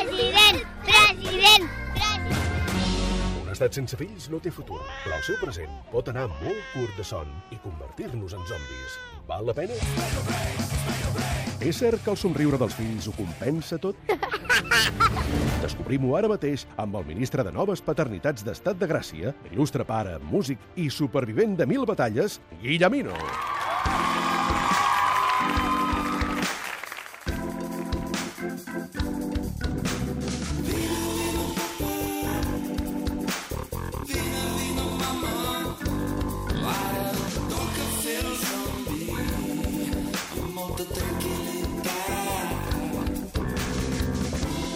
President! President! President! Un estat sense fills no té futur, però el seu present pot anar molt curt de son i convertir-nos en zombis. Val la pena? És cert que el somriure dels fills ho compensa tot? Descobrim-ho ara mateix amb el ministre de Noves Paternitats d'Estat de Gràcia, il·lustre pare, músic i supervivent de mil batalles, Guillemino.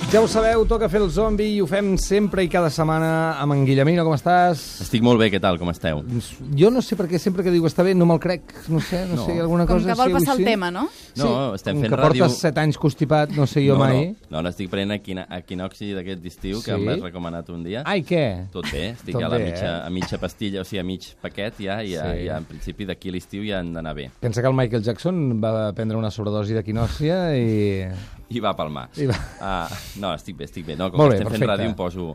Ja ho sabeu, toca fer el zombi i ho fem sempre i cada setmana amb en Guillemino, com estàs? Estic molt bé, què tal, com esteu? Jo no sé per què sempre que diu està bé no me'l crec, no sé, no, no. sé, hi ha alguna Com cosa... que sí, vol avui passar el sí. tema, no? No, estem com fent que ràdio... portes 7 anys constipat, no sé jo no, mai. No, no, no estic prenent equina, equinoxi d'aquest estiu, Sí? que em vas recomanat un dia. Ai, què? Tot bé, estic Tot a, la bé, mitja, eh? a mitja pastilla, o sigui, a mig paquet ja, i, ja, Sí. ja en principi d'aquí a l'estiu ja han d'anar bé. Pensa que el Michael Jackson va prendre una sobredosi d'equinòcia i... I va palmar. I va- Ah, no, estic bé, estic bé. No, com Molt molt bé, estem perfecte. fent ràdio em poso...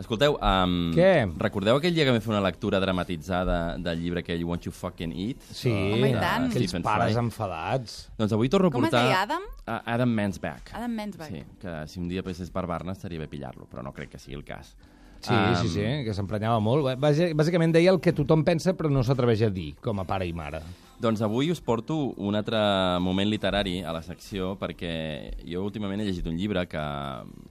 Escolteu, um, Què? recordeu aquell dia que vam fer una lectura dramatitzada del llibre aquell Won't You Fucking Eat? Sí. Home, i tant. de Aquells Stephen pares Fry? enfadats. Doncs avui torno a Com es portar... deia, Adam? A- Adam Mansbach. Adam Mansbach. Sí, que si un dia passés per Barna estaria bé pillar-lo, però no crec que sigui el cas. Sí, um... sí, sí, que s'emprenyava molt. Bàsi- Bàsicament deia el que tothom pensa però no s'atreveix a dir, com a pare i mare. Doncs avui us porto un altre moment literari a la secció perquè jo últimament he llegit un llibre que...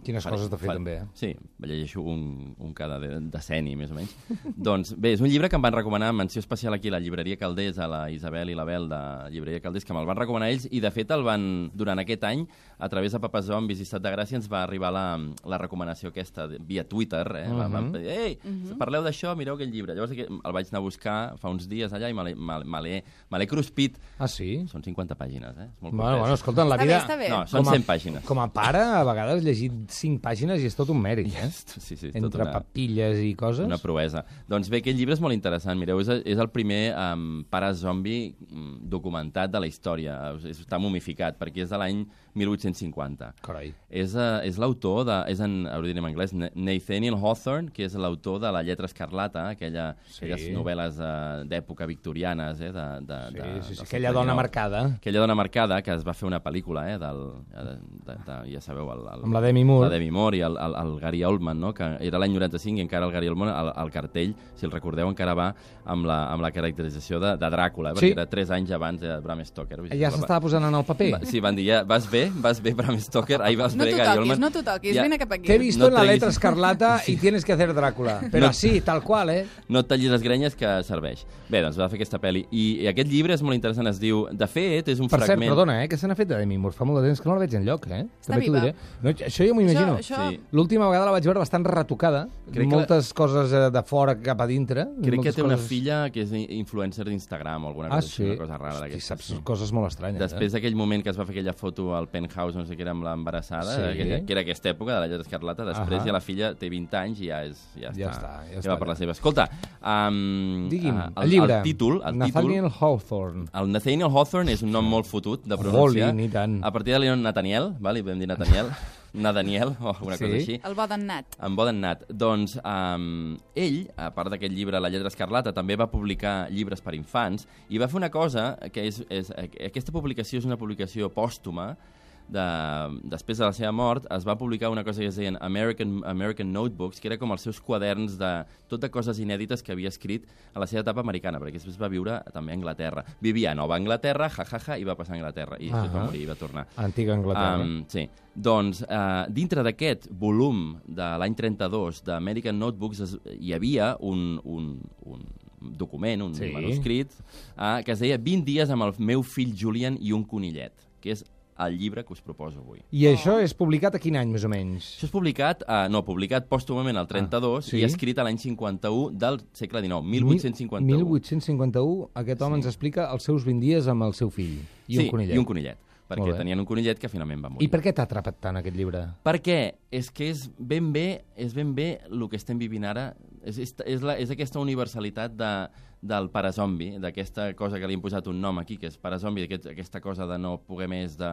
Quines coses t'ha fet, també, eh? Sí, llegeixo un, un cada de- decenni, més o menys. doncs bé, és un llibre que em van recomanar, menció especial aquí a la llibreria Caldés, a la Isabel i l'Abel de llibreria Caldés, que me'l van recomanar ells i de fet el van, durant aquest any, a través de Papa Zombis i Estat de Gràcia, ens va arribar la, la recomanació aquesta de- via Twitter, eh? Uh -huh. Mhm. Vam dir, ei, parleu d'això, mireu aquest llibre. Llavors aquell- el vaig anar a buscar fa uns dies allà i me l'he- me l'he- me l'he me l'he cruspit Ah, sí? són 50 pàgines, eh? És molt Bueno, bueno, comprès. escolta, en la Està vida... bé, està bé. No, són Com a- 100 pàgines. Com a pare, a vegades llegir 5 pàgines i és tot un mèrit, eh? Sí, sí, és tot Entre una- papilles i coses. Una proesa. Doncs bé, aquest llibre és molt interessant. Mireu, és, és el primer um, pare zombi mm, documentat de la història. Eh, Està momificat, perquè és de l'any 1850. Carai. És, uh, és l'autor de... És en, ara ho diré en anglès, Na- Nathaniel Hawthorne, que és l'autor de La lletra escarlata, aquella, Sí. sí. aquelles novel·les uh, d'època victorianes, eh, de, de, Sí, sí, sí, de, del aquella segle dona XIX. marcada. Aquella dona marcada, que es va fer una pel·lícula, eh, del, de, de, de, ja sabeu... El, el, Amb la Demi Moore. La Demi Moore i el, el, el Gary Oldman, no? que era l'any 95 i encara el Gary Oldman, el, el cartell, si el recordeu, encara va amb la, amb la caracterització de, de Dràcula, eh, Sí. perquè era 3 anys abans de Bram Stoker. Vull dir, Ja va- s'estava posant en el paper. va- Sí, van dir, ja, vas bé, vas bé, Bram Stoker, ahir vas No bé, t'ho Gary toquis, Oldman. no t'ho toquis, vine cap aquí. T'he vist No en la treguis- letra escarlata i tienes que hacer Drácula. Però No. sí, tal qual, eh? no et tallis les grenyes que serveix. Bé, doncs va fer aquesta pel·li. I, I aquest llibre és molt interessant, es diu... De fet, és un Per cert, fragment... perdona, eh, que se n'ha fet de Demi Moore. Fa molt de temps que no la veig enlloc, eh? Està També t'ho viva. diré. No, això jo m'ho imagino. Això, això... Sí. L'última vegada la vaig veure bastant retocada. Crec que moltes coses eh, de fora cap a dintre. Crec que moltes té una coses- filla que és influencer d'Instagram o alguna Ah, cosa, així, sí? una cosa rara Hosti, d'aquestes. saps coses molt estranyes. eh? Després d'aquell moment que es va fer aquella foto al penthouse, no sé què era, amb l'embarassada, Sí. sí. aquella, que era aquesta època de la lletra escarlata, després Ahà. ja la filla té 20 anys i ja, és, ja, Ja està, està, ja ja està, va per ja. la seva. Escolta, um, Digui'm, ah, el llibre. el títol, el Nathaniel títol Hawthorne. el Nathaniel Hawthorne és un nom molt fotut de pronunciar. Jolín, i tant. A partir de l'Ion Nathaniel, val? li vam dir Nathaniel, Nadaniel o alguna Sí. cosa així. El bo d'en Nat. En Boden Nat. Doncs um, ell, a part d'aquest llibre La lletra escarlata, també va publicar llibres per infants i va fer una cosa que és... és aquesta publicació és una publicació pòstuma de, després de la seva mort es va publicar una cosa que es deien American, American Notebooks, que era com els seus quaderns de tot de coses inèdites que havia escrit a la seva etapa americana, perquè després va viure també a Anglaterra. Vivia a Nova Anglaterra, ja, ja, ja, i va passar a Anglaterra, i després Ahà. va morir i va tornar. Antiga Anglaterra. Um, sí. Doncs, uh, dintre d'aquest volum de l'any 32 d'American Notebooks es, hi havia un, un, un document, un Sí. sí. manuscrit, uh, que es deia 20 dies amb el meu fill Julian i un conillet, que és el llibre que us proposo avui. I això és publicat a quin any, més o menys? Això és publicat, uh, no, publicat pòstumament al 32 Ah, sí? i escrit a l'any 51 del segle XIX, 1851. 1851, aquest home ens explica els seus 20 dies amb el seu fill. I sí, un conillet. I un conillet, Molt perquè bé. tenien un conillet que finalment va morir. I per què t'ha atrapat tant aquest llibre? Perquè és que és ben bé, és ben bé el que estem vivint ara. És, és, és, la, és aquesta universalitat de, del parazombi, d'aquesta cosa que li hem posat un nom aquí, que és parazombi, aquest, aquesta cosa de no poder més, de,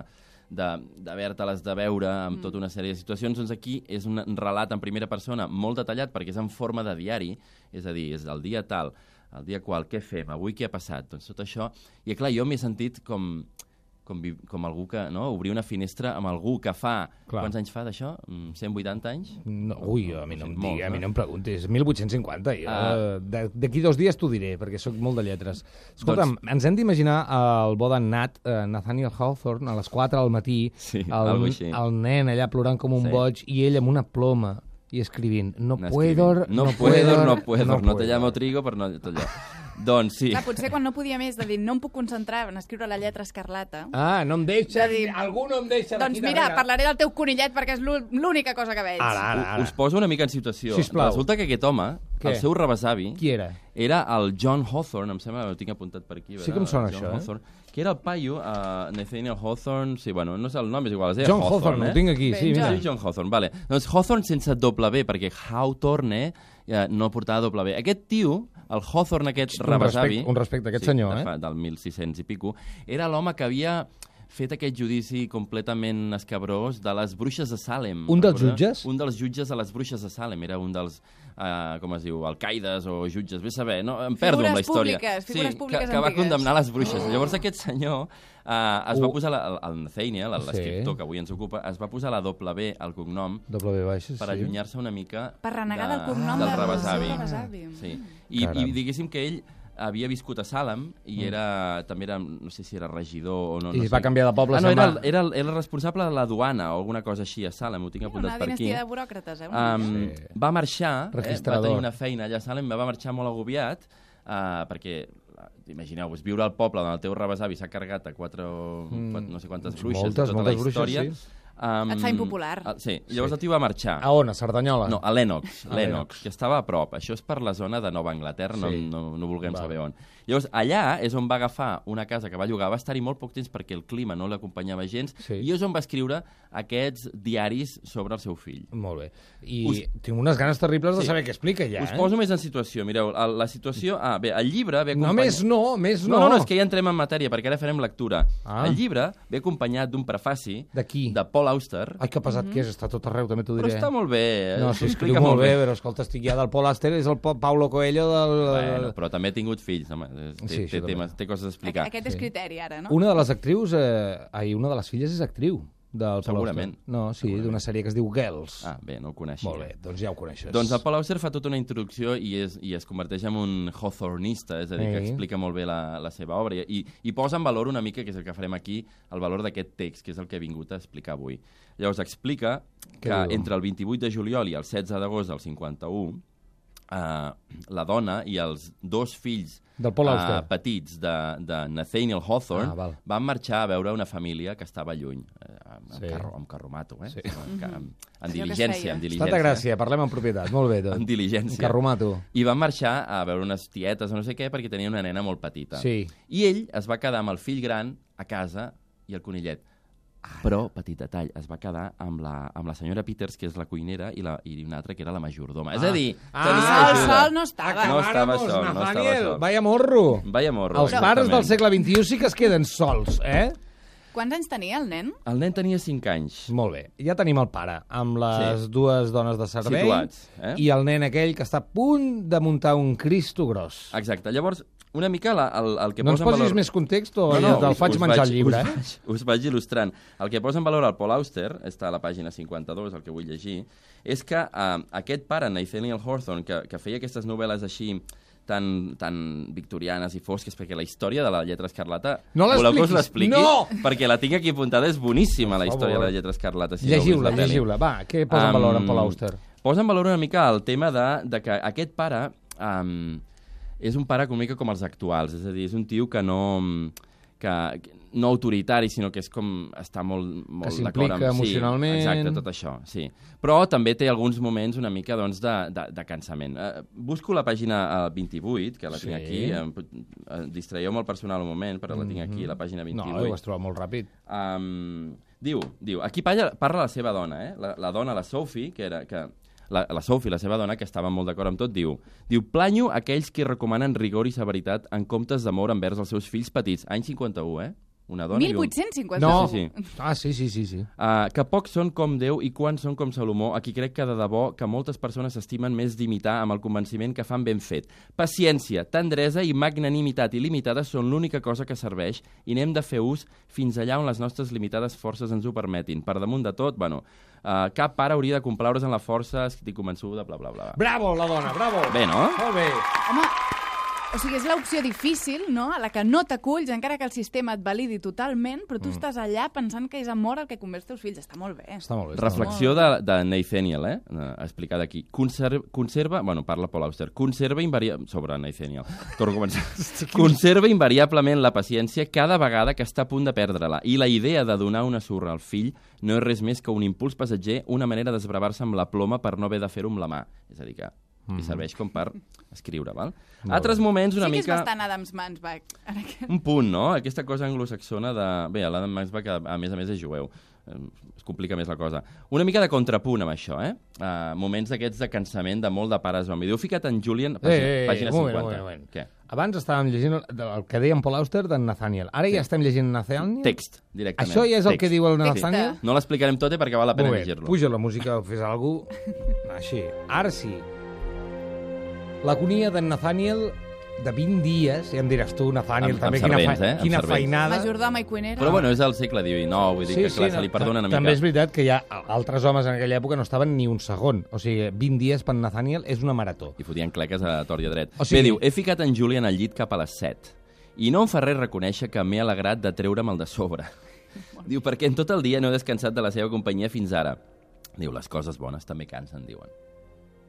d'haver-te-les de, de veure amb mm. tota una sèrie de situacions. Doncs aquí és un relat en primera persona molt detallat perquè és en forma de diari, és a dir, és del dia tal, el dia qual, què fem, avui què ha passat, doncs tot això... I clar, jo m'he sentit com, com, vi- com algú que... No? Obrir una finestra amb algú que fa... Clar. Quants anys fa d'això? Mm, 180 anys? No, ui, a mi no em, Molt, digui, a mi no? no em preguntis. 1850, jo. Ah. Uh, D'aquí dos dies t'ho diré, perquè sóc molt de lletres. Escolta'm, doncs... ens hem d'imaginar el bo d'en Nat, eh, Nathaniel Hawthorne, a les 4 del matí, Sí, algo el, així. el nen allà plorant com un Sí. boig i ell amb una ploma i escrivint no N'escrivim. puedo, no puedo, no puedo, no, te llamo trigo, però no tot allò. doncs sí. Clar, potser quan no podia més de dir no em puc concentrar en escriure la lletra escarlata, Ah, no em deixa, De dir- algú no em deixa doncs d'aquí mira, darrere. parlaré del teu conillet perquè és l'ú- l'única cosa que veig. Ara, ara, U- ara. Us poso una mica en situació. Sisplau. Resulta que aquest home, Què? el seu rebesavi, Qui era? era el John Hawthorne, em sembla, ho tinc apuntat per aquí. a Sí veure, que em sona John això, eh? Hawthorne, Que era el paio, uh, Nathaniel Hawthorne, sí, bueno, no sé el nom, és igual, es deia John Hawthorne, Hawthorne, eh? ho tinc aquí, sí, Ben, mira. Sí, John Hawthorne, vale. Doncs Hawthorne sense doble B, perquè Hawthorne eh, no portava doble B. Aquest tio, el Hawthorne aquest Un rebesavi... respecte- un respecte a aquest senyor, de eh? fa- Del 1600 i pico, era l'home que havia fet aquest judici completament escabrós de les bruixes de Salem. Un dels Recordeu? jutges? Un dels jutges de les bruixes de Salem. Era un dels, eh, com es diu, alcaides o jutges, bé saber, no? Em perdo amb la Figures història. públiques, sí, figures que, públiques que va antigues. condemnar les bruixes. Llavors aquest senyor eh, es va Uh. posar, la- el, el Nathaniel, l'escriptor Sí. que avui ens ocupa, es va posar la doble B al cognom W baixa, per allunyar-se una mica Per renegar de- del cognom del del rebesavi. seu rebesavi. Sí. I, Caram. Mm. I diguéssim que ell havia viscut a Salem i era, també era, no sé si era regidor o no. I no es va sé. canviar de poble, Ah, no, se'n era, va. el, era, el, era el responsable de la duana o alguna cosa així a Salem, ho tinc Era apuntat Una per aquí. dinastia de buròcrates, eh? Una mica. Um, sí. Va marxar, eh, va Registrador. tenir una feina allà a Salem, va marxar molt agobiat, eh, perquè eh, imagineu-vos, viure al poble on el teu rebesavi s'ha carregat a quatre, o quatre, no sé quantes bruixes Mm. moltes, de tota moltes la bruixes, història. sí. em, Et fa impopular. eh, sí, llavors sí. el tio va marxar. A on? A Cerdanyola? No, a Lennox, A a Lenox. Lennox, que estava a prop. Això és per la zona de Nova Anglaterra, no, Sí. no, no vulguem Val. saber on. Llavors, allà és on va agafar una casa que va llogar. Va estar-hi molt poc temps perquè el clima no l'acompanyava gens Sí. i és on va escriure aquests diaris sobre el seu fill. Molt bé. I Us- tinc unes ganes terribles de Sí. saber què explica ja, Us eh? poso més en situació. Mireu, la, la situació... Ah, bé, el llibre ve No, acompanyat... més no, més no. No, no, no, és que ja entrem en matèria, perquè ara farem lectura. Ah. El llibre ve acompanyat d'un prefaci... De qui? De Paul Auster. Ai, que pesat que és, està tot arreu, també t'ho però diré. està molt bé. eh? No, S'ho s'escriu explica molt bé, però escolta, estic ja del Paul Aster, és el Pa- Paulo Coelho del... Bueno, però també ha tingut fills, home. eh, Té, Sí, sí, això té, també. temes, té coses a Aqu- explicar. Aquest és criteri, ara, no? Una de les actrius... Eh... Ai, una de les filles és actriu del Paul Segurament. Auster. No, sí, d'una sèrie que es diu Girls. Ah, bé, no ho coneixia. molt bé, doncs ja ho coneixes. Doncs el Paul Auster fa tota una introducció i es, i es converteix en un Hawthornista, és a dir, que Sí. explica molt bé la, la seva obra i, i posa en valor una mica, que és el que farem aquí, el valor d'aquest text, que és el que he vingut a explicar avui. Llavors explica Què que diu? entre el 28 de juliol i el 16 d'agost del 51, eh, la dona i els dos fills Del Paul eh, Auster. petits de, de Nathaniel Hawthorne Ah, val. van marxar a veure una família que estava lluny, eh, amb, Sí. sí. carro, amb carromato, eh? Sí. Amb, ca- amb, amb Allò que es diligència, feia. amb diligència. Estat de gràcia, parlem en propietat. Molt bé, Amb doncs. diligència. Carromato. I van marxar a veure unes tietes o no sé què perquè tenia una nena molt petita. Sí. I ell es va quedar amb el fill gran a casa i el conillet. Però, petit detall, es va quedar amb la, amb la senyora Peters, que és la cuinera, i, la, i una altra que era la majordoma. És a dir, Ah. tenia Ah, el ajuda. sol no estava. No estava Acabàramos, sol, no estava Nathaniel. sol. Vaya morro. Vaya morro. Els pares del exactament. segle XXI sí que es queden sols, eh? Quants anys tenia el nen? El nen tenia 5 anys. Molt bé, ja tenim el pare amb les sí. Sí. dues dones de servei Situats, eh? i el nen aquell que està a punt de muntar un cristo gros. Exacte. Llavors, una mica la, el, el Ah, que no ens posa en posis valor... més context o no, no, te'l us- faig us menjar el llibre, us eh? Vaig, us vaig il·lustrant. El que posa en valor el Paul Auster, està a la pàgina 52, el que vull llegir, és que eh, aquest pare, Nathaniel Hawthorne, que, que feia aquestes novel·les així tan, tan victorianes i fosques, perquè la història de la lletra escarlata... No la voleu que us expliquis, l'expliqui? no! Perquè la tinc aquí apuntada, és boníssima, la Per història de favor. la lletra escarlata. Si Llegiu-la, no llegiu-la. Va, què posa en valor en Paul Auster? Posa en valor una mica el tema de, de que aquest pare um, és un pare com una mica com els actuals, és a dir, és un tio que no... mm, Que, que no autoritari, sinó que és com està molt, molt d'acord s'implica amb... emocionalment. Sí, exacte, tot això, sí. Però també té alguns moments una mica doncs, de, de, de cansament. Uh, busco la pàgina eh, 28, que la Sí. tinc aquí, em, pot- eh, distraieu molt personal un moment, però la tinc aquí, la pàgina Mhm. No, 28. ho has trobat molt ràpid. Um, diu, diu, aquí parla, parla la seva dona, eh? La, la dona, la Sophie, que era... Que, la, la Sophie, la seva dona, que estava molt d'acord amb tot, diu diu, planyo aquells que recomanen rigor i severitat en comptes d'amor envers els seus fills petits. Any 51, eh? Una dona i un... 1850? No. Sí, sí. Ah, sí, sí, sí, sí. Uh, que pocs són com Déu i quants són com Salomó, aquí crec que de debò que moltes persones s'estimen més d'imitar amb el convenciment que fan ben fet. Paciència, tendresa i magnanimitat il·limitada són l'única cosa que serveix i n'hem de fer ús fins allà on les nostres limitades forces ens ho permetin. Per damunt de tot, bueno, uh, cap pare hauria de complaure's en la força, estic convençuda, bla, bla, bla. Bravo, la dona, bravo. Bé, no? Molt bé. Home, o sigui, és l'opció difícil, no?, a la que no t'aculls, encara que el sistema et validi totalment, però tu mm. estàs allà pensant que és amor el que convé els teus fills. Està molt bé. Està molt bé. Està molt bé. Reflexió de, de Nathaniel, eh? eh, explicada aquí. Conserva, conserva bueno, parla Paul Auster, conserva invariablement... Sobre Nathaniel. Torno a començar. conserva invariablement la paciència cada vegada que està a punt de perdre-la. I la idea de donar una surra al fill no és res més que un impuls passatger, una manera d'esbravar-se amb la ploma per no haver de fer-ho amb la mà. És a dir, que mm. serveix com per escriure, val? Altres moments una sí que és mica bastant Adams Mansbach. En aquest... un punt, no? Aquesta cosa anglosaxona de... Bé, l'Adam Maxbach, a, a més a més, és jueu. Eh, Es complica més la cosa. Una mica de contrapunt amb això, eh? Uh, moments d'aquests de cansament de molt de pares zombi. Diu, fica't en Julian, pàgina, Ah, un pàgina 50. Eh, moment, un moment, un moment. Què? Abans estàvem llegint el, el que deia en Paul Auster d'en Nathaniel. Ara ja estem llegint Nathaniel. Text, directament. Això ja és el Text. que diu el Texta. Nathaniel? No l'explicarem tot eh, perquè val la pena Molt bé, llegir-lo. puja la música, fes alguna cosa així. Ara sí. L'agonia d'en Nathaniel de 20 dies, ja em diràs tu, Nathaniel, Amb- també, amb quina, servents, eh? Amb quina servents. feinada. Majordoma i cuinera. Però bueno, és del segle XIX, vull dir que clar, se li no, perdona una mica. També és veritat que hi ha altres homes en aquella època no estaven ni un segon. O sigui, 20 dies per Nathaniel és una marató. I fotien cleques a tort i a dret. O O sigui- sigui... Bé, diu, he ficat en Julian al llit cap a les 7 i no em fa res reconèixer que m'he alegrat de treure'm el de sobre. diu, perquè en tot el dia no he descansat de la seva companyia fins ara. Diu, les coses bones també cansen, diuen.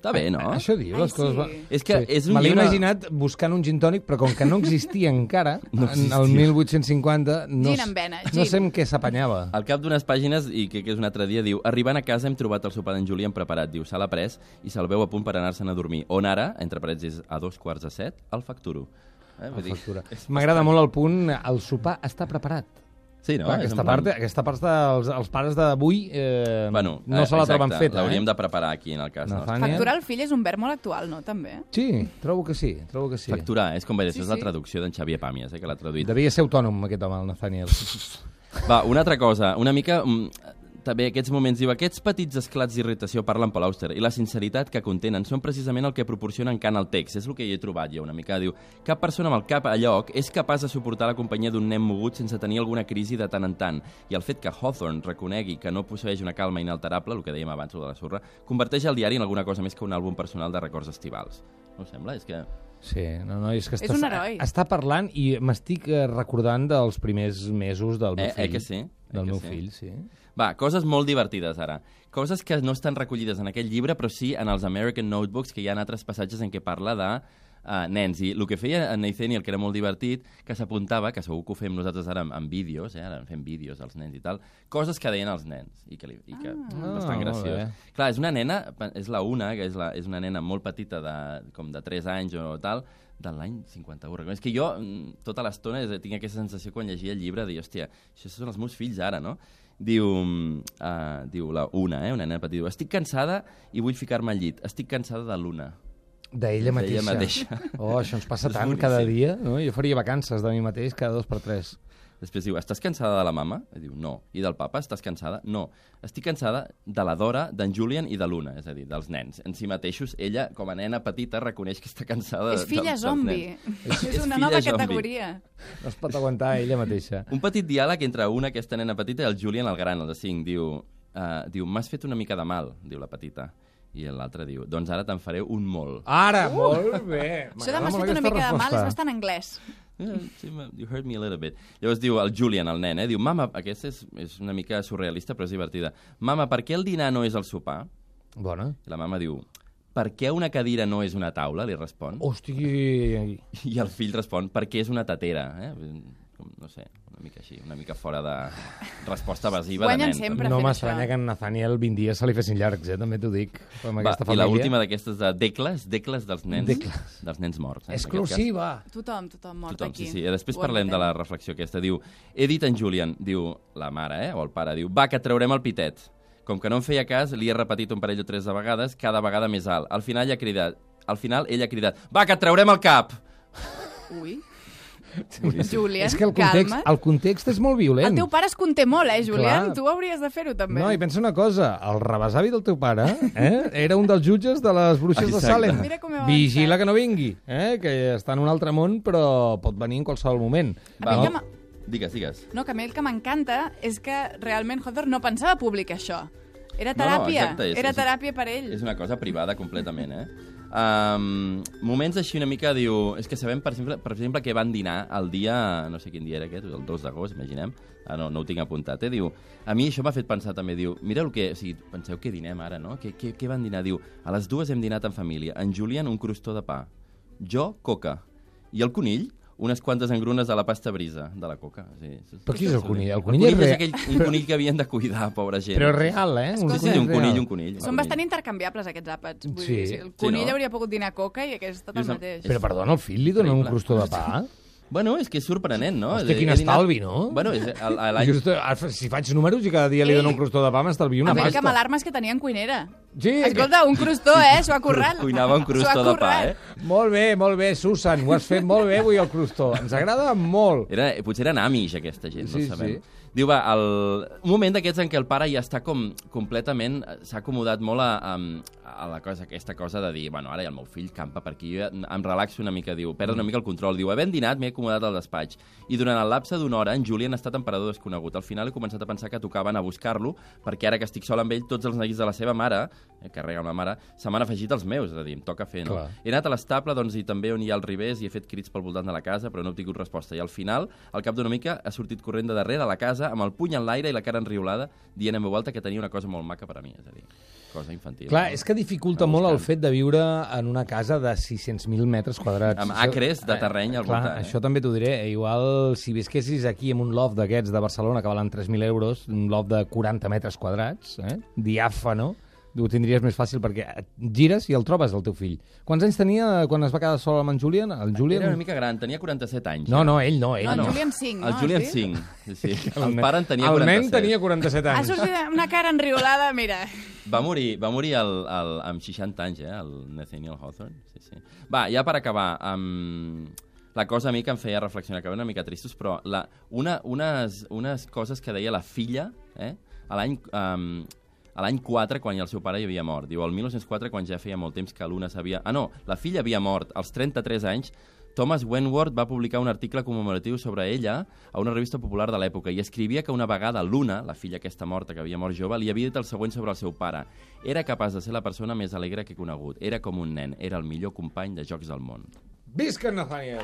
Està bé, no? Això diu, Ai, les coses... sí. va- Ah? És que és un Me l'he llibre... imaginat buscant un gin tònic, però com que no existia encara, no existia. en el 1850, no, Gin s- amb vena, no gin. sé amb què s'apanyava. Al cap d'unes pàgines, i crec que és un altre dia, diu Arribant a casa hem trobat el sopar d'en Julián preparat, diu, se l'ha pres i se'l veu a punt per anar-se'n a dormir. On ara, entre parèntesis, a dos quarts de set, el facturo. Eh? Vull dir- Factura. M'agrada molt el punt, el sopar està preparat. Sí, no? Clar, És aquesta, en plan- part, aquesta part està, els, els pares d'avui eh, Bueno, no se la exacte, troben feta. L'hauríem eh? de preparar aquí, en el cas nostre. Nathaniel. Facturar el fill és un verb molt actual, no?, també. Sí, trobo que sí, trobo que sí. Facturar, eh? és com bé, això Sí, és la sí. traducció d'en Xavier Pàmies, eh, que l'ha traduït. Devia ser autònom, aquest home, el Nathaniel. Va, una altra cosa, una mica... mm, També aquests moments, diu, aquests petits esclats d'irritació parlen per l'Auster i la sinceritat que contenen són precisament el que proporcionen cant al text. És el que hi he trobat jo una mica. Diu, cap persona amb el cap a lloc és capaç de suportar la companyia d'un nen mogut sense tenir alguna crisi de tant en tant. I el fet que Hawthorne reconegui que no posseeix una calma inalterable, el que dèiem abans, el de la sorra, converteix el diari en alguna cosa més que un àlbum personal de records estivals. No us sembla? És que... Sí, no, no, és que És estàs- un heroi. Està parlant i m'estic eh, recordant dels primers mesos del meu Eh, eh fill. que sí? Eh Del que meu sí? fill, sí. Va, coses molt divertides ara. Coses que no estan recollides en aquest llibre, però sí en els American Notebooks, que hi ha altres passatges en què parla de uh, nens. I el que feia en Nathaniel, que era molt divertit, que s'apuntava, que segur que ho fem nosaltres ara amb, amb vídeos, eh? ara fem vídeos als nens i tal, coses que deien els nens, i que, li, i que ah, Ah, bastant molt graciós. bé. Clar, és una nena, és la una, que és, la, és una nena molt petita, de, com de 3 anys o tal, de l'any 51. És que jo mm, tota l'estona és- tinc aquesta sensació quan llegia el llibre de dir, hòstia, això són els meus fills ara, no? Diu, uh, diu la una, eh, una nena petita, diu, estic cansada i vull ficar-me al llit. Estic cansada de l'una. D'ella mateixa. D'ella mateixa. Oh, això ens passa És tant boníssim. cada dia. No? Jo faria vacances de mi mateix cada dos per tres. Després diu, estàs cansada de la mama? I diu, no. I del papa, estàs cansada? No. Estic cansada de la Dora, d'en Julian i de l'Una, és a dir, dels nens. En si mateixos, ella, com a nena petita, reconeix que està cansada És de- filla dels zombi. nens. És Eh, és una filla nova zombi. categoria. No es pot aguantar ella mateixa. Un petit diàleg entre una, aquesta nena petita, i el Julian, el gran, el de 5. Diu, uh, diu m'has fet una mica de mal, diu la petita. I l'altre diu, doncs ara te'n faré un molt. Ara, uh! molt bé. Això de M'agrada m'has molt fet una aquesta mica de mal resposta. és bastant anglès. Eh, Sí, ma- you heard me a little bit. Llavors diu el Julian, el nen, eh? diu, mama, aquesta és, és una mica surrealista, però és divertida. Mama, per què el dinar no és el sopar? Bona. I la mama diu, per què una cadira no és una taula? Li respon. Oh. Hosti, I el fill respon, perquè és una tatera. Eh? Com, no sé, una mica així, una mica fora de resposta evasiva Guanyen de nen. sempre. no fent m'estranya això. que en Nathaniel 20 dies se li fessin llargs, eh? també t'ho dic. Amb Va, aquesta I família. l'última d'aquestes de decles, decles dels nens, Decles. dels nens morts. Eh? en aquest cas. Exclusiva! Tothom, tothom mort Tothom, aquí. sí, eh? sí. I després Ho parlem de la admetem. reflexió aquesta. Diu, he dit en Julian, diu la mare, eh, o el pare, diu, va, que traurem el pitet. Com que no em feia cas, li he repetit un parell o tres de vegades, cada vegada més alt. Al final ella ha cridat, al final ella ha cridat, va, que traurem el cap! Ui. Julien, és que el context, calma't. el context és molt violent. El teu pare es conté molt, eh, Julián? Clar. Tu hauries de fer-ho, també. No, i pensa una cosa, el rebesavi del teu pare eh, era un dels jutges de les bruixes Exacte. de Salem. Mira com he avançat. Vigila que no vingui, eh, que està en un altre món, però pot venir en qualsevol moment. A mi no? que m'ha- Digues, digues. No, que a mi el que m'encanta és que realment Hodor no pensava publicar això. Era No, no, teràpia. exacte, és- Era és- teràpia per ell. És una cosa privada completament, eh? Um, moments així una mica, diu... És que sabem, per exemple, per exemple que van dinar el dia... No sé quin dia era aquest, el 2 d'agost, imaginem. Ah, no, no ho tinc apuntat, eh? Diu, a mi això m'ha fet pensar també, diu... Mira el que... O sigui, penseu que dinem ara, no? Què, què, què van dinar? Diu, a les dues hem dinat en família. En Julián, un crostó de pa. Jo, coca. I el conill, unes quantes engrunes de la pasta brisa de la coca. O sigui, és- Però qui és el conill? El El conill és conill és, real. aquell, un conill que havien de cuidar, pobra gent. Però real, eh? Sí, sí, un real. conill, un conill. Són bastant intercanviables, aquests àpats. Vull Sí. dir, si el Sí, conill no? hauria pogut dinar coca i aquest ha estat el Lluís, em- mateix. Però perdona, al fill li donen un Increïble. crostó de pa? Bueno, és que és sorprenent, no? Hòstia, És a dir, quin he dinat- estalvi, no? Bueno, és a- a l'any... Just, eh, si faig números i cada dia li Ei. dono un crostó de pa, m'estalvio a Ah, una mi el que pasta. m'alarma és que tenien cuinera. Sí, Escolta, un crostó, eh? S'ho ha currat. Cuinava un crostó de pa, eh? molt bé, molt bé, Susan, ho has fet molt bé avui el crostó. Ens agrada molt. Era, potser eren amish, aquesta gent, Sí, no sabem. sí. Diu, va, el... un moment d'aquests en què el pare ja està com completament... eh, S'ha acomodat molt a, a, a la cosa, aquesta cosa de dir, bueno, ara ja el meu fill campa per aquí, jo ja em relaxo una mica, diu, perdo una Mm. mica el control. Diu, havent dinat, m'he acomodat al despatx. I durant el lapse d'una hora, en Julian ha estat emperador desconegut. Al final he començat a pensar que tocaven a buscar-lo, perquè ara que estic sol amb ell, tots els neguits de la seva mare, eh, que rega amb la mare, se m'han afegit els meus, és a dir, em toca fer, no? Clar. He anat a l'estable, doncs, i també on hi ha el Ribés, i he fet crits pel voltant de la casa, però no he obtingut resposta. I al final, al cap d'una mica, ha sortit corrent de darrere a la casa, amb el puny en l'aire i la cara enriolada, dient en veu alta que tenia una cosa molt maca per a mi, és a dir, cosa infantil. Clar, és que dificulta Anar molt el buscant. fet de viure en una casa de 600.000 metres quadrats. Amb Això- acres de terreny al Clar, voltant, eh? això també t'ho diré. Igual, si visquessis aquí en un loft d'aquests de Barcelona que valen 3.000 euros, un loft de 40 metres quadrats, eh? diàfano, ho tindries més fàcil perquè et gires i el trobes, el teu fill. Quants anys tenia quan es va quedar sol amb en Julian? El Julian... Era una mica gran, tenia 47 anys. No, ja. no, ell no, ell No, el no. Julian 5, no? El Julian Sí? 5, sí, sí. Ah, El pare en tenia el 47. nen tenia eh? 47 Ha anys. sortit una cara enriolada, mira. Va morir, va morir el, el, amb 60 anys, eh, el Nathaniel Hawthorne. Sí, sí. Va, ja per acabar, um, la cosa a mi que em feia reflexionar, que era una mica tristos, però la, una, unes, unes coses que deia la filla, eh, a l'any... Um, a l'any 4, quan ja el seu pare ja havia mort. Diu, el 1904, quan ja feia molt temps que l'una s'havia... Ah, no, la filla havia mort. Als 33 anys, Thomas Wentworth va publicar un article commemoratiu sobre ella a una revista popular de l'època i escrivia que una vegada l'Una, la filla aquesta morta que havia mort jove, li havia dit el següent sobre el seu pare. Era capaç de ser la persona més alegre que he conegut. Era com un nen. Era el millor company de jocs del món. Visca en Nathaniel!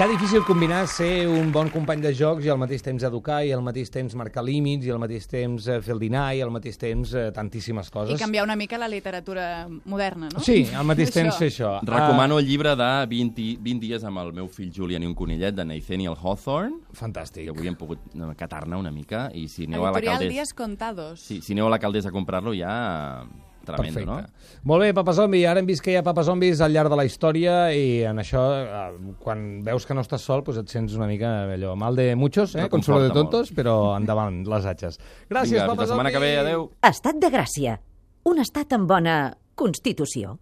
Que difícil combinar ser un bon company de jocs i al mateix temps educar i al mateix temps marcar límits i al mateix temps eh, fer el dinar i al mateix temps eh, tantíssimes I coses. canviar una mica la literatura moderna, no? Sí, al mateix temps fer Això. això. Recomano el llibre de 20, i- 20 dies amb el meu fill Julian i un conillet de Nathaniel Hawthorne, Ah, fantàstic. que avui hem pogut eh, catar-ne una mica, i si aneu a la Editorial Caldés... Días Contados. Sí, si aneu a la Caldés a comprar-lo ja... Tremendo, Perfecte. no? Molt bé, Papa Zombi, ara hem vist que hi ha Papa Zombis al llarg de la història i en això, eh, quan veus que no estàs sol, doncs et sents una mica allò mal de muchos, eh? No Consuelo de conforta molt. tontos, però endavant, les atxes. Gràcies, Vinga, fins Papa la setmana Zombi! que ve, adeu! Estat de Gràcia. Un estat amb bona Constitució.